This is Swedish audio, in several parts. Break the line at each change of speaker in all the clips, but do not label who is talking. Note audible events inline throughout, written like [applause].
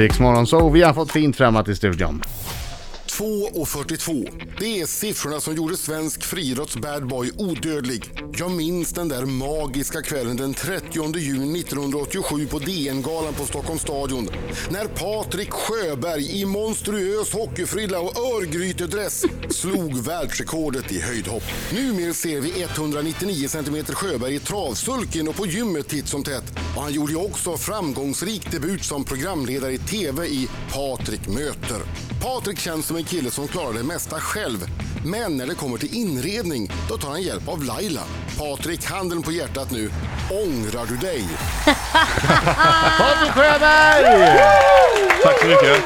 Riksmorgon så vi har fått fint framåt i studion.
2.42. Det är siffrorna som gjorde svensk friidrotts bad boy odödlig. Jag minns den där magiska kvällen den 30 juni 1987 på DN-galan på Stockholms stadion. När Patrik Sjöberg i monstruös hockeyfrilla och örgrytedress slog världsrekordet i höjdhopp. Numer ser vi 199 cm Sjöberg i travsulken och på gymmet titt som tätt. Och han gjorde ju också framgångsrik debut som programledare i TV i Patrik möter. Patrik känns som en kille som klarar det mesta själv. Men när det kommer till inredning, då tar han hjälp av Laila. Patrik, handen på hjärtat nu. Ångrar du dig?
Patrik Sjöberg!
Tack så mycket.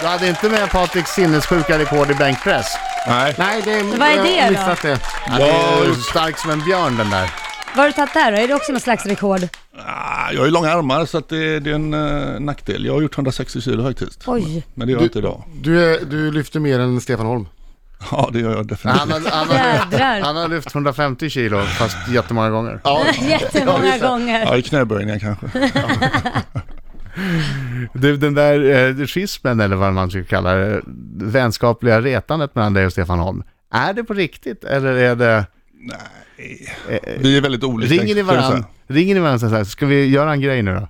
Du hade inte med Patriks sinnessjuka rekord i bänkpress?
Nej.
Nej, det
Vad
jag
är
har
det då?
missat Det. Ja, det är stark som en björn den där.
Vad har du tagit där då? Är det också något slags rekord?
Ah, Jag har ju långa armar så att det, det är en eh, nackdel. Jag har gjort 160 kilo högtidst.
Oj.
Men det gör jag inte idag. [laughs]
Du, du lyfter mer än Stefan Holm.
Ja, det gör jag
Han
definitivt.
har, han, har,
Jädrar.
han har lyft 150 kilo, fast jättemånga gånger.
Jättemånga gånger.
Ja, i knäböjningar kanske.
Du, den där eh, schismen, eller vad man ska kalla det, vänskapliga retandet mellan dig och Stefan Holm. Är det på riktigt, eller är det...
Vi är väldigt olika.
Ringer ni
kan jag
varandra? Ringer ni varandra så här, ska vi göra en grej nu då?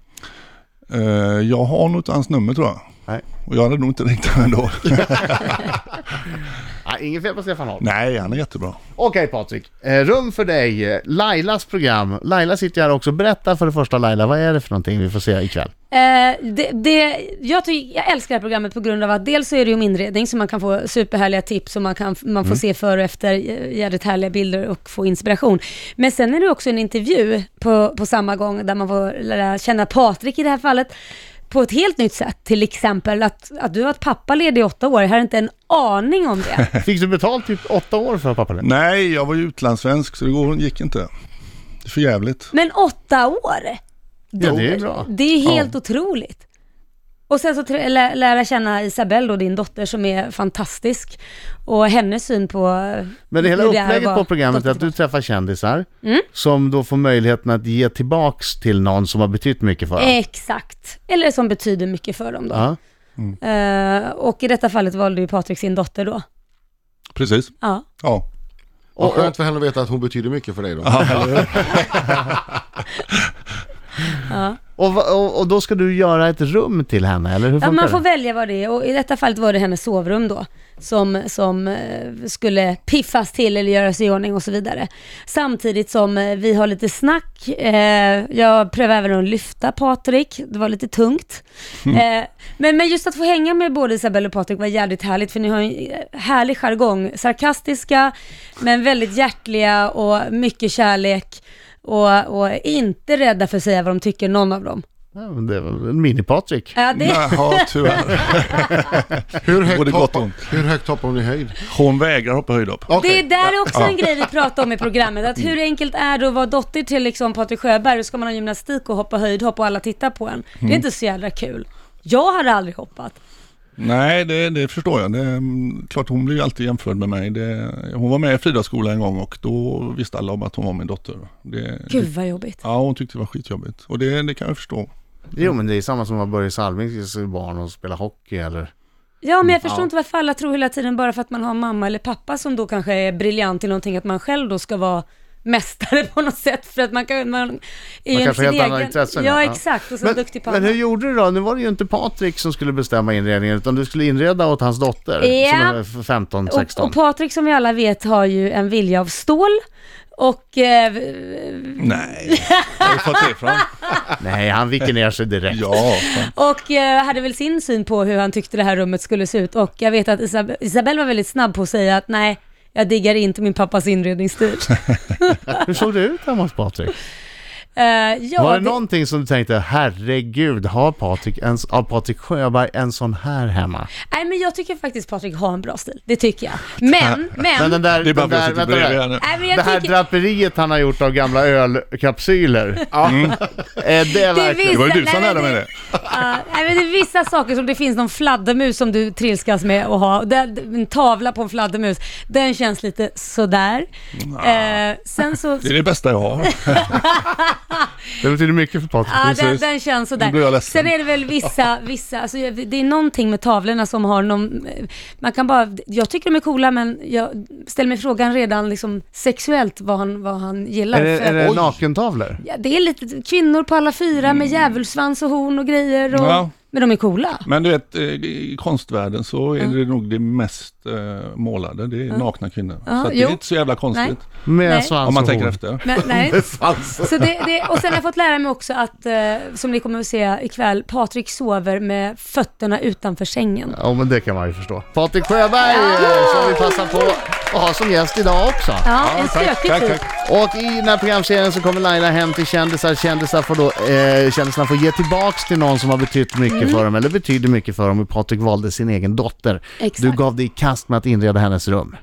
säga. Eh, Jag har nog inte hans nummer tror jag.
Nej.
Och jag hade nog inte ringt honom ändå.
Nej, inget fel på Stefan Holm.
[laughs] Nej, han är jättebra.
Okej Patrik, eh, rum för dig. Eh, Lailas program. Laila sitter här också. Berätta för det första Laila, vad är det för någonting vi får se ikväll?
Eh, det, det, jag, tycker, jag älskar det här programmet på grund av att dels så är det ju om inredning, så man kan få superhärliga tips och man, kan, man får
Mm.
se före och efter eh, jävligt härliga bilder och få inspiration. Men sen är det också en intervju på, på samma gång där man får lära känna Patrik i det här fallet på ett helt nytt sätt. Till exempel att, att du har varit pappaledig i åtta år, jag hade inte en aning om det.
Fick du betalt typ åtta år för pappa? eller?
Nej, jag var ju utlandssvensk så det går, gick inte. Det är för jävligt.
Men åtta år!
Ja, det är bra.
Det är helt otroligt. Och sen så trä- lä- lära känna Isabelle då, din dotter, som är fantastisk. Och hennes syn på
Men det hela
hur är att
upplägget på
vara
programmet är att du
dotter.
träffar kändisar
Mm.
som då får möjligheten att ge tillbaks till någon som har betytt mycket för
Eh.
dem.
Exakt. Eller som betyder mycket för dem då.
Ja.
Eh, och i detta fallet valde ju Patrik sin dotter då.
Precis.
Ja.
Ja.
Och skönt för henne att veta att hon betyder mycket för dig då.
Och, va- och, och då ska du göra ett rum till henne, eller hur
ja
funkar
man får
det?
välja vad det är och i detta fallet var det hennes sovrum då som, som eh, skulle piffas till eller göras i ordning och så vidare. Samtidigt som eh, vi har lite snack. Eh, jag prövade även att lyfta Patrik. Det var lite tungt.
Mm.
Eh, men, men just att få hänga med både Isabelle och Patrik var jävligt härligt för ni har en härlig jargong. Sarkastiska men väldigt hjärtliga och mycket kärlek och, och inte rädda för att säga vad de tycker någon av dem.
Ja, men det var en mini-Patrik.
Ja, det,
Jaha, [laughs] tyvärr.
Hur
Både
högt,
gott
hoppar,
och ont.
hur högt hoppar hon i höjd?
Hon vägrar hoppa höjdhopp.
Det
Okej.
är där är också en grej vi pratar om i programmet, att
Mm.
hur enkelt är det att vara dotter till liksom Patrik Sjöberg, och ska man ha gymnastik och hoppa höjdhopp och alla tittar på en.
Mm.
Det är inte så jävla kul. Jag hade aldrig hoppat.
Nej, det, det förstår jag. Det, är, mm, klart hon blir ju alltid jämförd med mig. Det, hon var med i friidrottsskolan en gång och då visste alla om att hon var min dotter. Det,
Gud vad jobbigt.
Ja, hon tyckte det var skitjobbigt. Och det, det kan jag förstå.
Jo, men det är samma som att Börje Salmings barn och spela hockey eller...
Ja, men jag förstår inte varför alla tror hela tiden bara för att man har mamma eller pappa som då kanske är briljant i någonting, att man själv då ska vara mästare på något sätt för att man kan... Man, är
Man
ju
kanske har
sin
helt andra
egen-
intressen.
Ja, exakt. Och så
men,
en duktig pappa.
Men hur gjorde du då? Nu var det ju inte Patrik som skulle bestämma inredningen, utan du skulle inreda åt hans dotter
Ja.
som är f- 15, 16.
Och, och Patrik som vi alla vet har ju en vilja av stål och eh,
Nej, jag har du fått det fram?
Nej, han viker ner sig direkt.
Ja, fan.
Och eh, hade väl sin syn på hur han tyckte det här rummet skulle se ut. Och jag vet att Isab- Isabelle var väldigt snabb på att säga att nej, jag diggar inte min pappas inredningsstil.
Hur såg det ut hemma hos Patrik?
Eh, ja,
var det,
det-
någonting som du tänkte, herregud, har Patrik, en, har Patrik Sjöberg en sån här hemma?
Nej, men jag tycker faktiskt Patrik har en bra stil. Det tycker jag. Men, men...
Men den där,
det är bara
den
för att
där vänta,
jag sitter bredvid
där.
henne.
Nej, men
det här
Mm. jag tycker,
draperiet han har gjort av gamla ölkapsyler. Mm. Eh, Det är
det, är
verkligen...
Det var ju du
vissa-
som
nej,
lärde
men
mig det.
[laughs] Ja, nej, men det är vissa saker som det finns någon fladdermus som du trilskas med att ha. Den, en tavla på en fladdermus, den känns lite sådär. Eh, sen så...
Det är det bästa jag har.
Det betyder mycket för Patrik.
Ja, den,
Precis.
den känns sådär.
Nu blir jag ledsen.
Sen är det
[laughs]
väl vissa, vissa, alltså jag- det är någonting med tavlorna som har någon, man kan bara, jag tycker de är coola men jag ställer mig frågan redan liksom sexuellt vad han, vad han gillar.
Är det,
För att-
är det nakentavlor?
Ja, det är lite kvinnor på alla fyra med djävulsvans och horn och grejer. Och,
Mm. Ja.
Men de är coola.
Men du vet, eh, i konstvärlden så är det nog det mest eh, målade, det är nakna kvinnor.
Ja,
så att det
jo.
är inte så jävla konstigt.
Med
Nej.
svans
Om man
och
tänker
horn.
efter. [laughs]
Men, nej.
Svans.
Så det, det, och sen har jag fått lära mig också att, eh, som ni kommer att se ikväll, Patrik sover med fötterna utanför sängen.
Ja, men det kan man ju förstå. Patrik Sjöberg eh, som vi passar på att ha som gäst idag också.
Ja, en stökig
tack,
typ.
tack.
Och i den här programserien så kommer Laila hem till kändisar. Kändisar får då, eh, kändisarna får ge tillbaks till någon som har betytt mycket
Mm.
för dem, eller betyder mycket för dem. Och Patrik valde sin egen dotter.
Exakt.
Du gav dig i kast med att inreda hennes rum.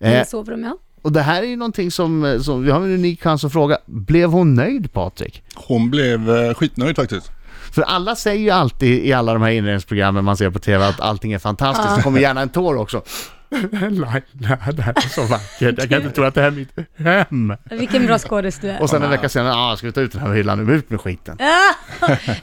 Eh,
Eh. Sovrum, ja.
och det här är ju någonting som, eh, som, vi har en unik chans att fråga. Blev hon nöjd Patrik?
Hon blev eh, skitnöjd faktiskt.
För alla säger ju alltid i alla de här inredningsprogrammen man ser på TV att allting är fantastiskt. Det kommer gärna en tår också. [laughs] Laila, det här är så vackert. Jag kan inte tro att det här är mitt hem.
Vilken bra skådis du är.
Och sen en vecka senare, ah, ska vi ta ut den här hyllan nu? Ut med skiten.
Ja,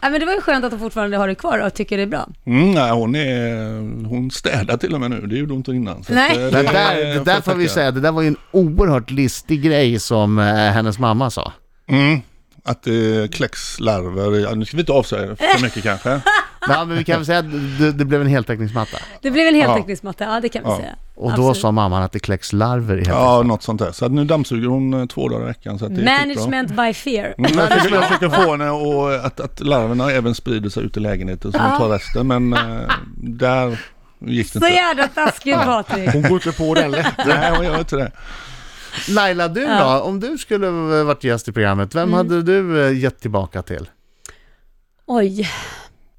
[laughs] men det var ju skönt att de fortfarande har det kvar och tycker det är bra.
Mm, nej, hon, är, hon städar till och med nu, det gjorde hon inte innan. Så
Nej.
att, eh,
Det
det
där, det där får vi
tacka.
säga, det där var ju en oerhört listig grej som eh, hennes mamma sa.
Mm, att det kläcks larver, ja, nu ska vi inte avslöja för
[laughs]
mycket kanske.
Nej, men vi kan väl säga att det, det blev en heltäckningsmatta.
Det blev en heltäckningsmatta, ja det kan vi
Ja.
säga.
Och då
Absolut.
sa mamman att det kläcks larver i heltäckningsmattan.
Ja, något sånt där. Så att nu dammsuger hon eh, två dagar i veckan. Så att det är skitbra.
Management by fear.
Mm, Jag försöker, jag försöker få henne och eh, att, att larverna även sprider sig ut i lägenheten så hon tar resten. Men eh, där gick det
Så
inte.
jävla taskigt Patrik.
Hon går inte på den
[laughs]
lätt.
Nej, hon gör inte det.
Laila, du då? Om du skulle ha varit gäst i programmet, vem hade du eh, gett tillbaka till?
Oj.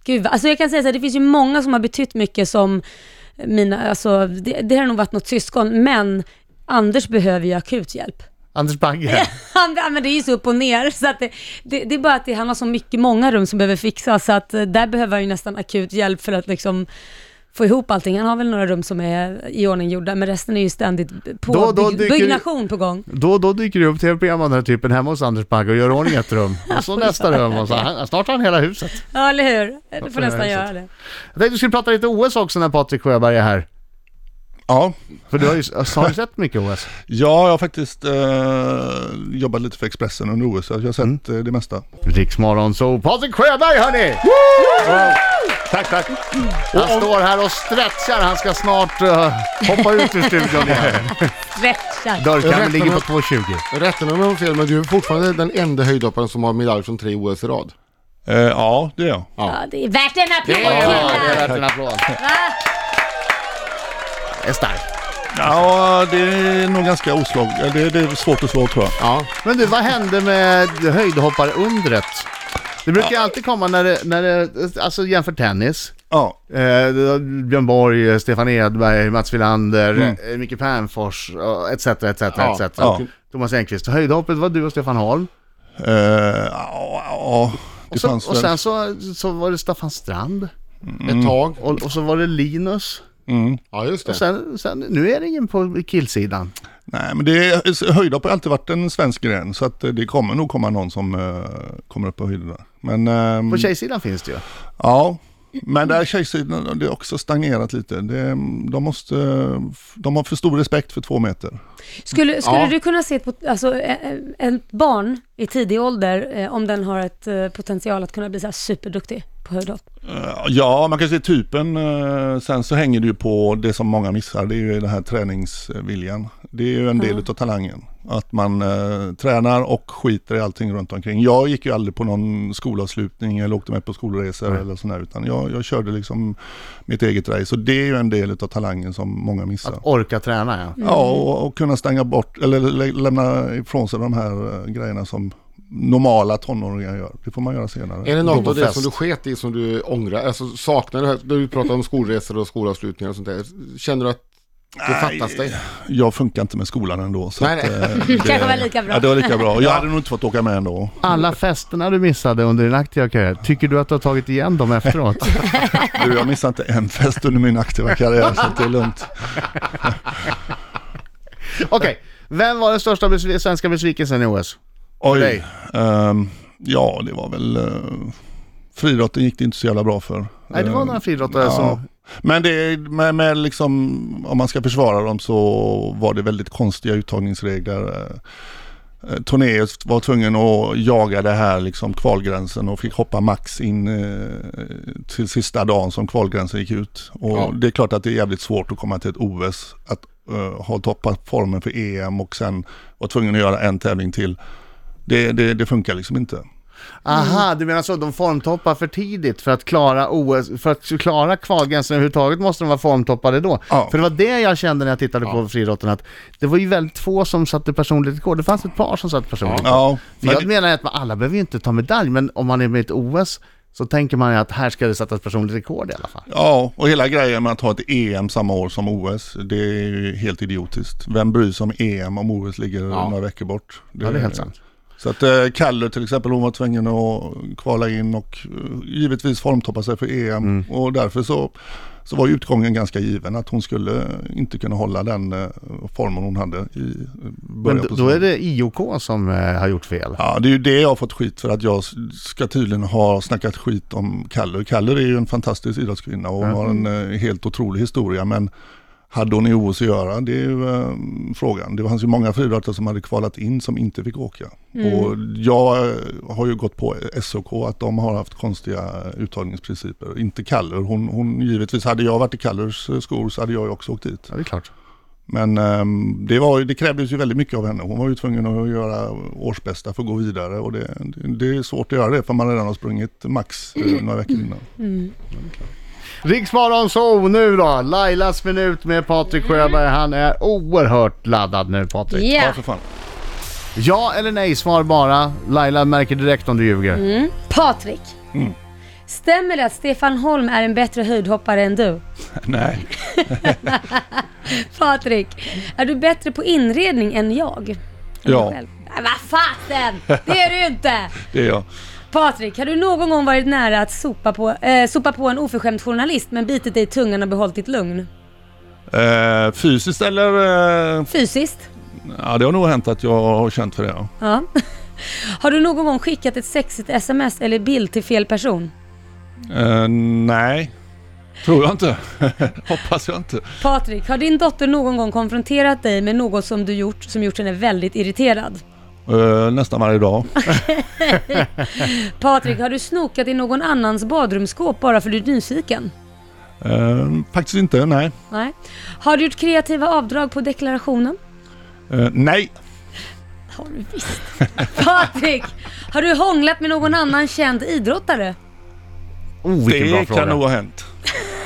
Gud, vad- alltså jag kan säga så här, det finns ju många som har betytt mycket som mina, alltså det, det har nog varit något syskon, men Anders behöver ju akut hjälp.
Anders [laughs] Bagge?
[laughs] Han, ja, men det är ju så upp och ner, så att det, det, det är bara att det, han har så mycket, många rum som behöver fixas, så att eh, där behöver han ju nästan akut hjälp för att liksom få ihop allting. Han har väl några rum som är i ordning gjorda, men resten är ju ständigt på
Då- då
byg-
dyker-
byggnation på gång.
Då och då dyker det upp tv-program av den här typen hemma hos Anders Bagge och gör i ordning ett [laughs] rum. Och så nästa rum och så. Han, snart har han hela huset.
Ja, eller hur? Du får
det är
nästan
så.
göra det.
Jag tänkte du skulle prata lite OS också när Patrik Sjöberg är här.
Ja,
För du har ju, har du sett mycket OS?
ja jag har faktiskt eh, jobbat lite för Expressen under OS. Så jag har sett
Mm.
eh, det mesta.
Riksmorgon, så Patrik Sjöberg hörni!
Tack, tack.
Han står här och stretchar, han ska snart eh, hoppa ut ur studion [laughs] igen.
Stretchar.
Dörrkammen
Rätt
ligger på
med-
2,20.
Rätta mig om jag har fel, men du är fortfarande den enda höjdhopparen som har medalj från tre OS i rad.
Eh, ja, det är jag.
Ja, det är värt en applåd
Ja, det
killar!
är värt en applåd. Är stark.
Ja, det är nog ganska oslag. ja, Det, det är svårt att slå tror jag.
Ja.
Men du, vad hände med höjdhopparundret? Det brukar ju alltid komma när det, när det alltså jämför tennis.
Ja,
Eh, Björn Borg, eh, Stefan Edberg, Mats Wilander, eh, Micke Pernfors, eh, etc. etc,
Ja,
etc.
Mm. ja.
Thomas Enqvist. Höjdhoppet var du och Stefan Holm.
eh, ja, ja, det
Och, så,
fanns
och
väl.
sen så, så var det Staffan Strand.
Ett tag.
Och, och så var det Linus.
Ja, just
Och
det.
sen, sen, nu är det ingen på killsidan.
Nej, men det, höjdhopp har alltid varit en svensk gren så att eh, det kommer nog komma någon som eh, kommer upp på höjderna. Men, ehm,
På tjejsidan finns det ju.
ja, men där tjejsidan, det har också stagnerat lite. Det, de, måste, eh, f- de har för stor respekt för två meter.
Skulle, skulle
Ja.
du kunna se ett, pot- alltså, eh, eh, ett barn i tidig ålder, eh, om den har ett eh, potential att kunna bli så här superduktig på höjdhopp?
Eh, Ja, man kan se typen. eh, Sen så hänger det ju på det som många missar. Det är ju den här träningsviljan. Det är ju en del utav talangen. Att man eh, tränar och skiter i allting runt omkring. Jag gick ju aldrig på någon skolavslutning eller åkte med på skolresor eller sådär. Utan jag, jag körde liksom mitt eget race. Och det är ju en del utav talangen som många missar.
Orka träna ja.
Ja, och, och kunna stänga bort eller lä- lämna ifrån sig de här eh, grejerna som normala tonåringar gör. Det får man göra senare.
Är det
Gå
något
på
av det
fest.
som du sket i som du ångrar? Alltså saknar du, här- när du pratar om skolresor och skolavslutningar och sånt där. Känner du att det
Nej.
fattas dig?
jag funkar inte med skolan ändå. Så
Nej,
att,
nej.
eh,
[laughs] kanske var lika bra.
Ja, det var lika bra. Jag hade nog inte fått åka med ändå.
Alla festerna du missade under din aktiva karriär, tycker du att du har tagit igen dem efteråt?
[laughs] Du, jag missade inte en fest under min aktiva karriär, så att det är lugnt.
Okej, vem var den största besv- svenska besvikelsen i OS?
Oj.
dig?
ehm, ja, det var väl... Uh, friidrotten gick det inte så jävla bra för.
Nej, det var
Ehm,
några friidrottare som...
Men det, med, med liksom, om man ska försvara dem så var det väldigt konstiga uttagningsregler. Eh, Tornéus var tvungen att jaga det här liksom kvalgränsen och fick hoppa max in eh, till sista dagen som kvalgränsen gick ut. Och
Ja.
det är klart att det är jävligt svårt att komma till ett OS, att eh, ha toppat formen för EM och sen vara tvungen att göra en tävling till. Det, det, det funkar liksom inte.
Aha,
Mm.
du menar så, de formtoppar för tidigt för att klara OS, för att klara kvalgränsen överhuvudtaget måste de vara formtoppade då.
Ja.
För det var det jag kände när jag tittade på friidrotten, att det var ju väldigt få som satte personligt rekord. Det fanns ett par som satte personligt rekord.
Ja,
För
men-
jag menar att man, alla behöver ju inte ta medalj, men om man är med i ett OS så tänker man ju att här ska det sättas personligt rekord i alla fall.
Ja, och hela grejen med att ha ett EM samma år som OS, det är ju helt idiotiskt. Vem bryr sig om EM om OS ligger några veckor bort?
Ja, det är helt sant.
Så att eh, Kalle till exempel, hon var tvungen att kvala in och eh, givetvis formtoppa sig för EM.
Mm.
Och därför så, så var ju utgången ganska given att hon skulle inte kunna hålla den eh, formen hon hade i eh, början
Men då,
på
då är
säsongen.
det IOK som eh, har gjort fel.
Ja, det är ju det jag har fått skit för att jag s- ska tydligen ha snackat skit om Kalle. Kalle är ju en fantastisk idrottskvinna och har en eh, helt otrolig historia men hade hon i OS att göra? Det är ju eh, frågan. Det fanns ju många friidrottare som hade kvalat in som inte fick åka. Och jag eh, har ju gått på SOK att de har haft konstiga uttagningsprinciper. Inte Kalle. Hon, hon, givetvis, hade jag varit i Kallers eh, skor så hade jag ju också åkt dit.
Ja, det är klart.
Men ehm, det, var, ju- det krävdes ju väldigt mycket av henne. Hon var ju tvungen att göra årsbästa för att gå vidare och det, det är svårt att göra det för man redan har sprungit max eh, några veckor innan.
Riksmorgon så nu då! Lailas minut med Patrik Sjöberg. Han är oerhört laddad nu Patrik.
Mm. Ja,
Ja, för fan.
Ja eller nej, svar bara. Laila märker direkt om du ljuger.
Mm. Patrik. Stämmer det att Stefan Holm är en bättre höjdhoppare än du?
[laughs]
[laughs]
Nej.
Patrik, är du bättre på inredning än jag? Än
Ja.
dig själv? Nej, vad fasen! Det är du inte!
Det är jag.
Patrik, har du någon gång varit nära att sopa på, eh, sopa på en oförskämd journalist men bitit dig i tungan och behållit ditt lugn?
Eh, fysiskt eller? Eh,
Fysiskt?
ja, det har nog hänt att jag har känt för det. Ja.
Ja. [laughs] Har du någon gång skickat ett sexigt sms eller bild till fel person?
Eh, nej, tror jag inte. [laughs] Hoppas jag inte.
Patrik, har din dotter någon gång konfronterat dig med något som du gjort som gjort henne väldigt irriterad?
Eh, nästan varje dag.
Patrik, har du snokat i någon annans badrumsskåp bara för att du är nyfiken?
Eh, faktiskt inte, nej.
Nej. Har du gjort kreativa avdrag på deklarationen?
Eh, nej.
har du visst. [laughs] Patrik, har du hånglat med någon annan känd idrottare?
Oh, vilken bra
Det
fråga.
kan nog ha hänt.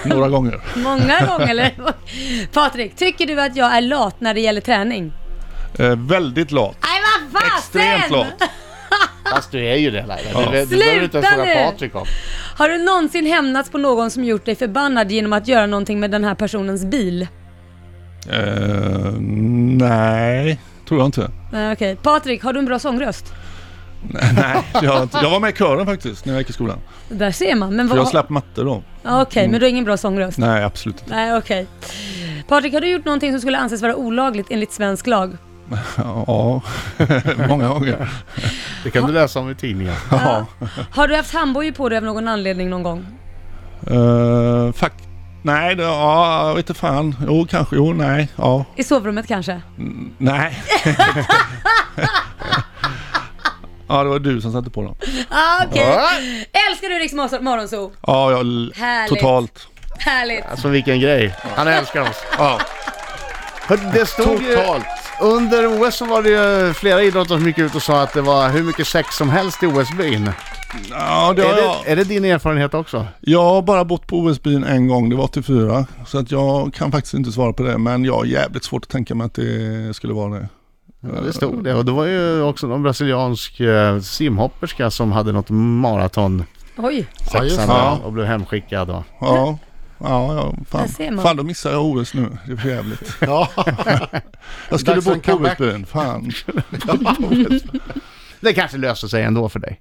Några gånger.
Många gånger eller? [laughs] Patrik, tycker du att jag är lat när det gäller träning?
Eh, väldigt lat.
Nej vad fasen!
Extremt lat.
Fast du är ju det Laila.
Ja.
Du, du behöver inte ens
Sluta
fråga
nu!
Patrik om.
Har du någonsin hämnats på någon som gjort dig förbannad genom att göra någonting med den här personens bil?
Eh, nej, tror jag inte.
Nej, Eh, Okej. Patrik, har du en bra sångröst?
[laughs] nej, jag, har inte- jag var med i kören faktiskt när jag gick i skolan.
Där ser man. Men
För
vad...
jag slapp matte då.
Okej, men du har ingen bra sångröst?
Nej, absolut inte.
Nej, okej. Patrik, har du gjort någonting som skulle anses vara olagligt enligt svensk lag?
Ja, [laughs] många gånger.
Det kan du läsa om i tidningen.
Ja.
Har du haft handbojor på dig av någon anledning någon gång?
Eh, fuck. Nej, det, ja, jag vet inte fan. Jo, kanske. Jo, nej. Ja,
I sovrummet kanske?
nej. [laughs] ja, det var du som satte på dem.
Ah, Okej.
Ja.
Älskar du Rix Morgonzoo?
Ja, jag... l-
Härligt.
Totalt.
Härligt.
Alltså vilken grej. Han älskar oss.
Ja.
Hörde, Det stod ju,
Totalt.
under OS så var det ju flera idrottare som gick ut och sa att det var hur mycket sex som helst i OS-byn.
Ja, det
Är,
har jag.
det- är det din erfarenhet också?
Jag har bara bott på OS-byn en gång, det var 84. Så att jag kan faktiskt inte svara på det, men jag har jävligt svårt att tänka mig att det skulle vara det.
Ja, det stod det. Och det var ju också någon brasiliansk eh, simhopperska som hade något maraton
Oj.
sexan
just det.
där
Ja.
och blev hemskickad. Och.
Ja, ja, ja
Mm. Där
fan.
ser man.
fan då missar jag OS nu. Det är för jävligt.
Ja.
[laughs] Jag skulle
Dags för en
bott på
comeback.
OS-byn, fan.
det kanske löser sig ändå för dig.